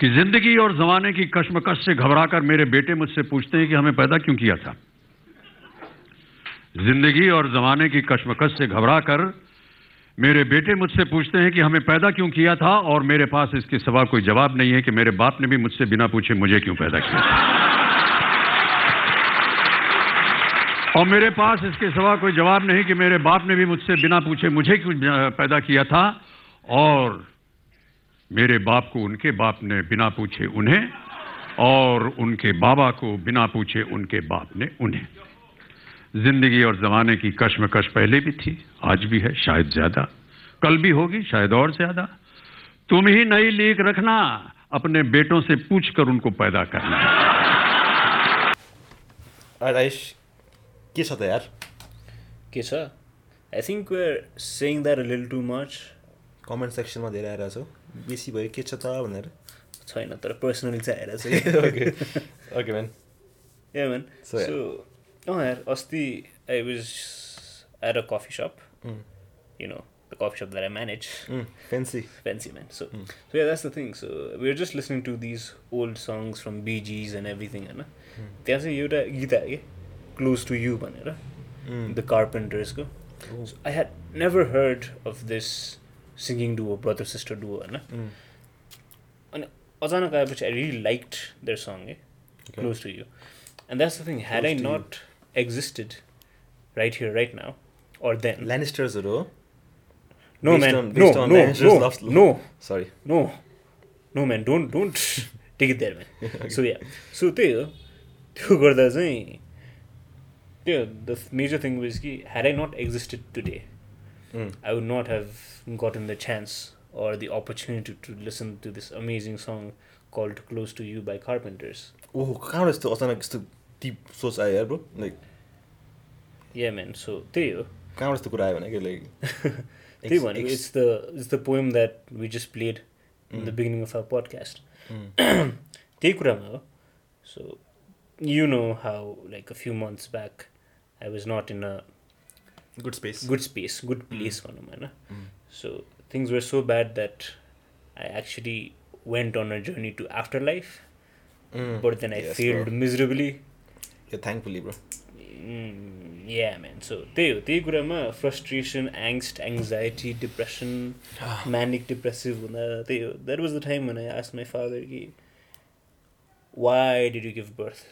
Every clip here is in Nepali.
कि जिंदगी और जमाने की कश्मकश से घबराकर मेरे बेटे मुझसे पूछते हैं कि हमें पैदा क्यों किया था जिंदगी और जमाने की कश्मकश से घबराकर मेरे बेटे मुझसे पूछते हैं कि हमें पैदा क्यों किया था और मेरे पास इसके सिवा कोई जवाब नहीं है कि मेरे बाप ने भी मुझसे बिना पूछे मुझे क्यों पैदा किया था। और मेरे पास इसके सिवा कोई जवाब नहीं कि मेरे बाप ने भी मुझसे बिना पूछे मुझे क्यों अ, पैदा किया था और मेरे बाप को उनके बाप ने बिना पूछे उन्हें और उनके बाबा को बिना पूछे उनके बाप ने उन्हें जिंदगी और जमाने की कश्मकश पहले भी थी आज भी है शायद ज्यादा कल भी होगी शायद और ज्यादा तुम ही नई लीक रखना अपने बेटों से पूछ कर उनको पैदा करना Alright, Aish, के छ त यार के छ I think we're saying that a लिल टु मच कमेन्ट सेक्सनमा धेरै आइरहेको छौ बेसी भयो के छ त भनेर छैन तर पर्सनली चाहिँ आएर चाहिँ okay okay man Yeah, man. So, So, yeah. oh, yeah, Asti, I was at a coffee shop. You know, the coffee shop that I manage. Fancy Fancy, man. So, Hmm. so yeah, that's the thing. So, we were just listening to these old songs from Bee Gees and everything, and uh, Hmm. there's a Yoda Gita, yeah? Close to You, man, Hmm. the Carpenters. Go. Oh. So I had never heard of this singing duo, brother sister duo, and uh, Hmm. अनि अचानक आएपछि I really liked their song a close to you and that's the thing had I not existed right here right now or then ल्यानिस्टर्सहरू हो no Based man on- no based on no Lannisters no loves- no sorry no no man don't don't take it there man so yeah so त्यही हो त्यो गर्दा चाहिँ त्यो द मेजर थिङ विज कि had I not existed today I would not have gotten the chance or the opportunity to listen to this amazing song called Close to You by Carpenters. ओहो कहाँबाट यस्तो अचानक यस्तो डिप सोच आयो यार bro like Yeah, man. So त्यही हो कहाँबाट यस्तो कुरा आयो भने कि लाइक त्यही भनेको it's the it's the poem that we just played in the beginning of our podcast त्यही कुरामा हो so you know how like a few months back I was not in a good space good space, good place on mm. So things were so bad that I actually went on a journey to afterlife, but then I Yes, failed bro. miserably. यो thankfully bro Mm, yeah, man. So त्यही हो त्यही कुरामा frustration, angst, anxiety, depression, manic depressive हुँदा त्यही हो that was the time when I asked my father कि why did you give birth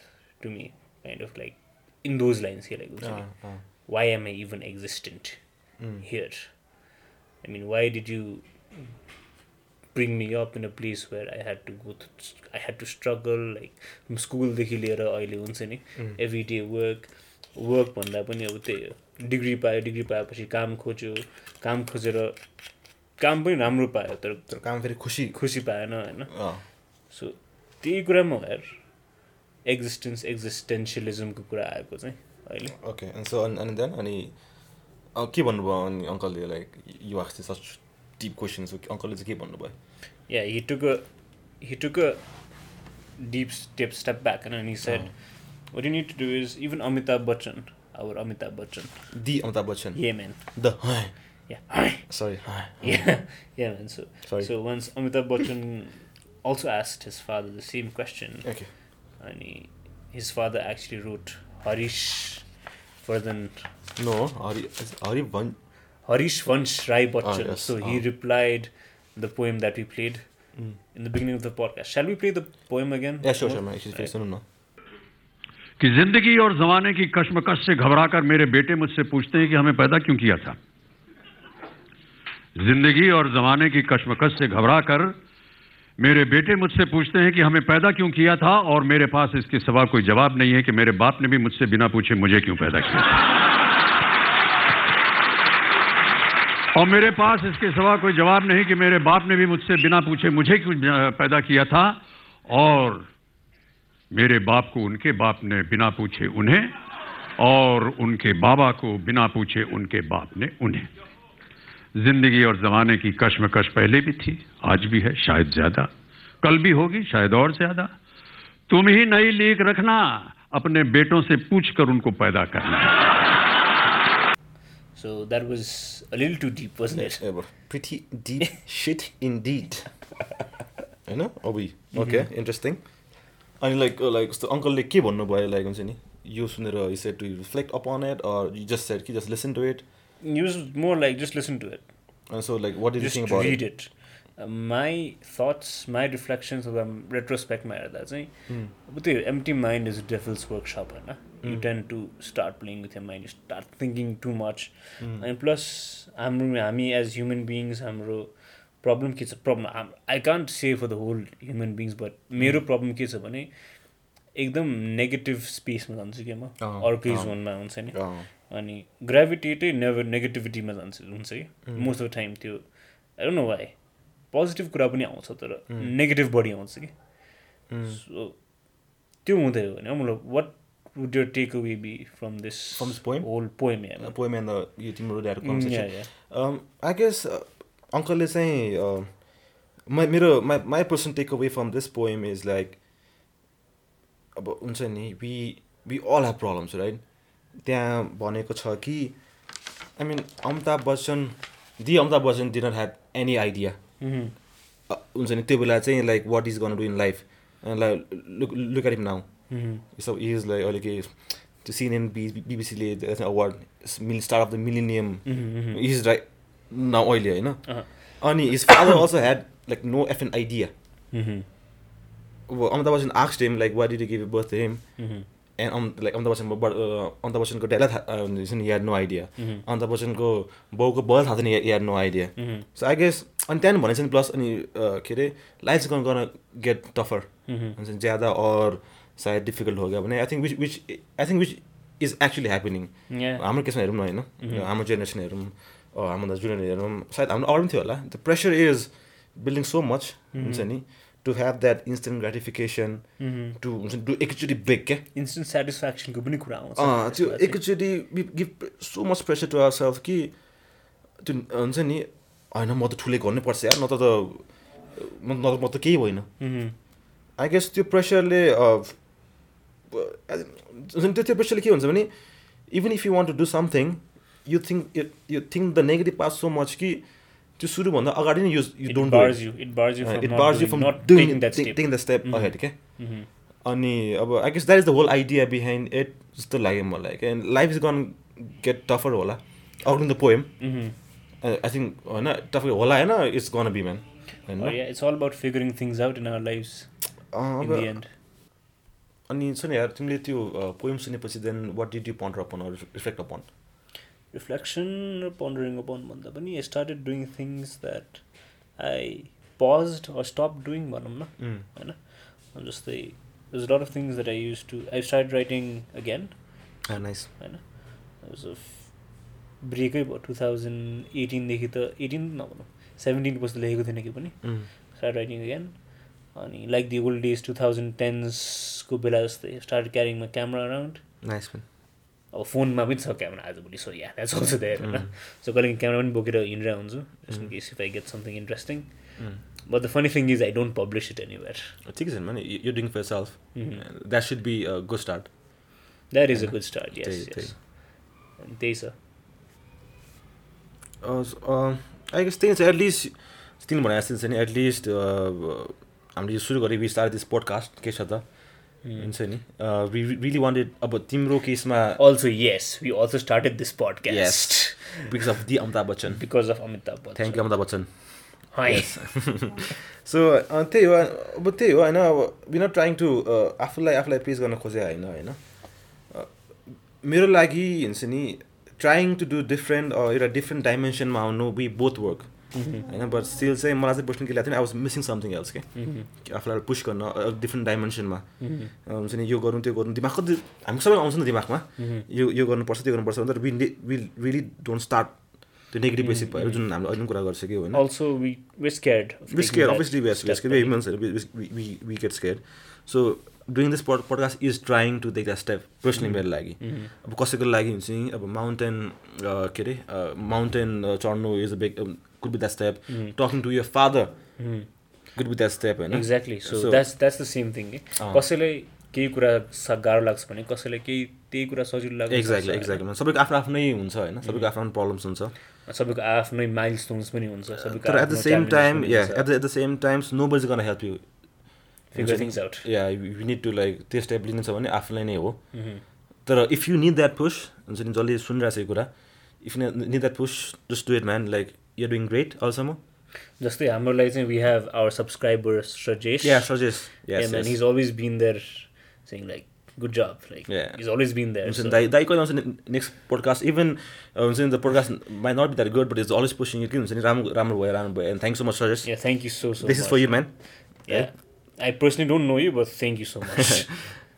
to me kind of like in those lines here like हुन्छ नि, why am I even existent here? I mean, why did you bring me up in a place where I had to go, th- I had to struggle, like from school देखि लिएर अहिले हुन्छ नि एभ्री डे वर्क वर्क भन्दा पनि अब त्यही हो डिग्री पायो डिग्री पाएपछि काम खोज्यो काम खोजेर काम पनि राम्रो पायो तर तर काम फेरि खुसी खुसी पाएन होइन अँ, सो त्यही कुरामा हो यार एक्जिस्टेन्स एक्जिस्टेन्सियलिजमको कुरा आएको चाहिँ अहिले ओके अनि सो अनि अनि देन अनि अँ, के भन्नुभयो अनि अङ्कलले like you ask such deep question so अङ्कलले चाहिँ के भन्नुभयो yeah he took a he took a deep step step back and then he said what you need to do is even amitabh bachchan our amitabh bachchan the Amitabh Bachchan yeah man the yeah sorry yeah yeah man so Sorry. so once amitabh bachchan also asked his father the same question okay and he, his father actually wrote harish Vardhan no Hari Hari भन् Harish Vansh Rai Bachchan. yes. So he Ah. Hmm. replied the poem that we played in the beginning of the podcast. Shall we play the poem again? Yeah sure Amol? Sharma एकछिन फेरि सुनौँ न कि जिंदगी और जमाने की कश्मकश से घबराकर मेरे बेटे मुझसे पूछते हैं कि हमें पैदा क्यों किया था जिंदगी और जमाने की कश्मकश से घबराकर मेरे बेटे मुझसे पूछते हैं कि हमें पैदा क्यों किया था और मेरे पास इसके सिवा कोई जवाब नहीं है कि मेरे बाप ने भी मुझसे बिना पूछे मुझे क्यों पैदा किया था और मेरे पास इसके सिवा कोई जवाब नहीं कि मेरे बाप ने भी मुझसे बिना पूछे मुझे क्यों अ, पैदा किया था और मेरे बाप को उनके बाप ने बिना पूछे उन्हें और उनके बाबा को बिना पूछे उनके बाप ने उन्हें जिंदगी और जमाने की कश्मकश पहले भी थी आज भी है शायद ज्यादा कल भी होगी शायद और ज्यादा तुम ही नई लीक रखना अपने बेटों से पूछ कर उनको पैदा करना So that was a little too deep, wasn't it? ए bro pretty deep shit indeed होइन अबुई Mm-hmm. ओके इन्ट्रेस्टिङ अनि लाइक uh, लाइक जस्तो अङ्कलले के भन्नुभयो लाइक हुन्छ नि यो सुनेर you said to reflect upon it or you just said कि just listen to it Use more like just listen to it. And so like what is just thing about read it it. Uh, my thoughts, my reflections of them, retrospect my that But the empty mind is a devil's workshop, right? You tend to start playing with your mind, you start thinking too much. And plus I'm me as human beings, I'm problem kids problem I'm, I can't say for the whole human beings, but मेरो problem eh? के छ भने एकदम नेगेटिभ स्पेसमा जान्छु कि म अँ, अर्कै अँ। जोनमा हुन्छ नि Ah. अनि ग्राभिटी चाहिँ नेभर नेगेटिभिटीमा जान्छ हुन्छ कि मोस्ट अफ टाइम त्यो I don't know why positive कुरा पनि आउँछ तर नेगेटिभ बढी आउँछ कि Mm. सो त्यो हुँदै हो भने मतलब what would your take away be from this From this poem? Whole poem poem and the यो तिम्रो ड्याडको yeah, conversation Mm, yeah. I guess अङ्कलले चाहिँ माई मेरो my my person take away from this poem is like अब हुन्छ नि we we all have problems right त्यहाँ भनेको छ कि I mean Amitabh Bachchan the Amitabh Bachchan did not have any idea हुन्छ नि त्यो बेला चाहिँ लाइक वाट इज गर्नु do in life like look look at him now so is like अहिले के त्यो सिएनएन बी बिबिसीले अवार्ड मिल star of the millennium is right now अहिले होइन अनि his father also had like no एफ एन आइडिया Mm-hmm. अब Amitabh Bachchan asks him like what did you give birth him and um like Amitabh बच्चनको बर्थ अमिताभ बच्चनको ड्याडलाई थाहा हुन्छ नि यार नो आइडिया अमिताभ बच्चनको बाउको बल थाहा थिएन यार no idea so I guess अनि त्यहाँदेखि भनेको छ नि प्लस अनि अ, के अरे लाइफ गर्न गर्न गेट टफर हुन्छ नि ज्यादा अर सायद डिफिकल्ट हो गयो भने I think which which I think which is actually happening Yeah. हाम्रो केसमा हेरौँ न होइन हाम्रो जेनेरेसन हेरौँ अ, हाम्रो जुनियर हेरौँ सायद हाम्रो अरू पनि थियो होला the pressure is building so much हुन्छ नि to have that instant gratification to हुन्छ नि टु एकचोटि ब्रेक क्या इन्स्टेन्ट सेटिस्फ्याक्सनको पनि कुरा आउँछ अँ, त्यो त्यसमा चाहिँ। एकचोटि give so much pressure to our self कि त्यो हुन्छ नि होइन म त ठुलै गर्नुपर्छ या नत्र त म न त- म त केही होइन मह्म, आई गेस त्यो प्रेसरले जुन त्यो त्यो प्रेसरले के हुन्छ भने even if you want to do something you think you think the negative pass so much कि त्यो सुरुभन्दा अगाडि नै you you it don't bars you it bars you from it not bars you doing- फ्रम not taking doing that step Mm-hmm. Taking the step ahead क्या मह्म, अनि अब I guess that is the whole idea behind it जस्तो लाग्यो मलाई क्या life is gun get tougher होला अकर्डिङ द पोएम मह्म. Uh, आई थिङ्क होइन टफर होला होइन इट्स गन बी म्यान होइन Oh, yeah, it's all about figuring things out in our lives अँ, in अब- the end Uh, अनि छ नि यार तिमीले त्यो पोएम सुनेपछि then what did you ponder upon reflect upon reflection or pondering upon भन्दा पनि I started doing things that I paused or stopped doing भनौँ न होइन अब जस्तै there's a lot of things that I used to I started writing again Ah, nice होइन as of ब्रेकै भयो टु थाउजन्ड एटिनदेखि त एटिन नभनौँ सेभेन्टिन पछि त लेखेको थिइनँ कि पनि स्टार्ट राइटिङ अगेन अनि like the old days two thousand टेन्सको बेला जस्तै start carrying my camera around nice man अब फोनमा पनि छ क्यामरा आजभोलि so yeah that's also there Mm. होइन सो कहिले काहीँ क्यामरा पनि बोकेर हिँडेर हुन्छु just in case if I get something interesting Mm. But the funny thing is I don't publish it anywhere ठिकै छ भने you doing for self Mm-hmm. That should be good start that is a good start Mm. त्यही, यस त्यही। यस त्यही छ आई गेस त्यही छ एटलिस्ट तिन भने जस्तो छ नि एटलिस्ट हामीले यो सुरु गरेँ बिस्तारै दिस पोडकास्ट के छ त हुन्छ नि रियली वान्टेड अब तिम्रो केसमा also yes we also started this podcast because of the Amitabh Bachchan because of Amitabh thank Bachchan you Amitabh Bachchan high so त्यही हो अब त्यही हो होइन अब विनट ट्राइङ टु आफूलाई आफूलाई प्लिज गर्न खोजे होइन होइन अ, मेरो लागि हुन्छ नि ट्राइङ टु डु डिफ्रेन्ट एउटा डिफ्रेन्ट डाइमेन्सनमा आउनु वी बोथ वर्क होइन बट स्टिल चाहिँ मलाई चाहिँ बस्नु के लाग्थ्यो नि I was missing something else के आफूलाई पुस गर्न डिफ्रेन्ट डाइमेन्सनमा हुन्छ नि यो गरौँ त्यो गरौँ दिमाग कति हामी सबै आउँछ नि दिमागमा यो यो गर्नुपर्छ त्यो गर्नुपर्छ तर we we really don't start त्यो नेगेटिभ बेसिस भएर जुन हामीले अहिले पनि कुरा गरिसक्यो होइन also we were scared we scared obviously we are scared we are humans and we, we, we, we get scared so doing this pod- podcast is trying to take that step personally मेरो लागि अब कसैको लागि हुन्छ नि अब माउन्टेन के अरे माउन्टेन चढ्नु is a big could be that step talking to your father could be that step होइन exactly so So- Ah. That's that's the same thing अँ। कसैलाई केही कुरा सा- गाह्रो लाग्छ भने कसैलाई केही त्यही कुरा सजिलो लाग्छ एक्ज्याक्टली एक्ज्याक्टली सबैको आफ्नो आफ्नै हुन्छ होइन सबैको आफ्नो आफ्नो प्रब्लम्स हुन्छ सबैको आफ्नै माइल स्टोन्स पनि हुन्छ सबैको तर at the same time yeah at the at the same time no बज गर्न help you figure things out yeah you need to like त्यो स्टेप लिनु छ भने आफूलाई नै हो Mm-hmm. तर if you need that push हुन्छ नि जसले सुनिरहेको छ यो कुरा if need that push just do it man like you doing great अल्सम्म जस्तै हाम्रो लागि चाहिँ we have our subscriber suggest yeah suggest and his always been there saying like good job like Yeah. Is always been there हुन्छ नि दाइ दाइ कहिले आउँछ नेक्स्ट पोडकास्ट इभन हुन्छ नि the podcast might not be that good but is always pushing you के हुन्छ नि राम्रो राम्रो भयो राम्रो भयो and thank so much suggest Yeah, thank you so so this is much. For you man Yeah. I personally don't know you, but thank you so much.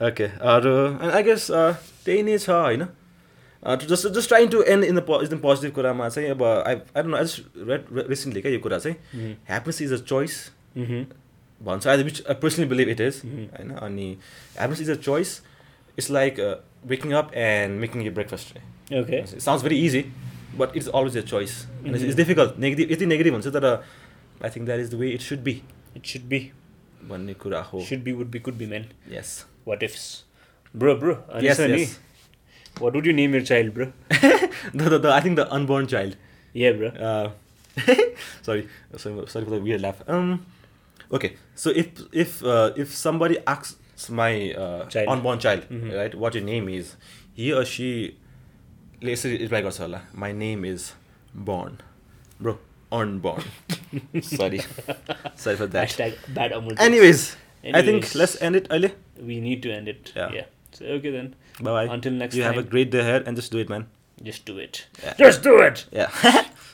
Okay अरू एन्ड आई गेस uh, त्यही नै छ होइन Uh, just just trying to and in the एकदम पोजिटिभ कुरामा चाहिँ अब I I don't I just read recently क्या यो कुरा चाहिँ happiness is a choice mm-hmm. भन्छ I which I personally believe it is होइन अनि happiness is a choice it's like waking up and making you breakfast Okay. It sounds very easy, but it's always a choice. And it's, it's difficult. Negative, it's negative one. So that, uh, I think that is the way it should be. It should be. भन्ने कुरा हो Should be, would be, could be, man. Yes What ifs? Bro, bro. Yes, yes. Anisa, nee. What would you name your child, bro? The the I think the unborn child Yeah, bro. Uh, sorry sorry sorry for the weird laugh okay so if if if somebody asks my Child. Mm-hmm. Unborn child right what you name is he a सीले यसरी रिप्लाई गर्छ होला my name is born bro unburn sorry sorry for that Hashtag bad amul. Anyways, I think Anyways. let's end it early. We need to end it. Yeah. So, okay then. Bye bye. Until next you time. have a great day ahead and just do it, man. Just do it. Yeah. Just do it! Yeah.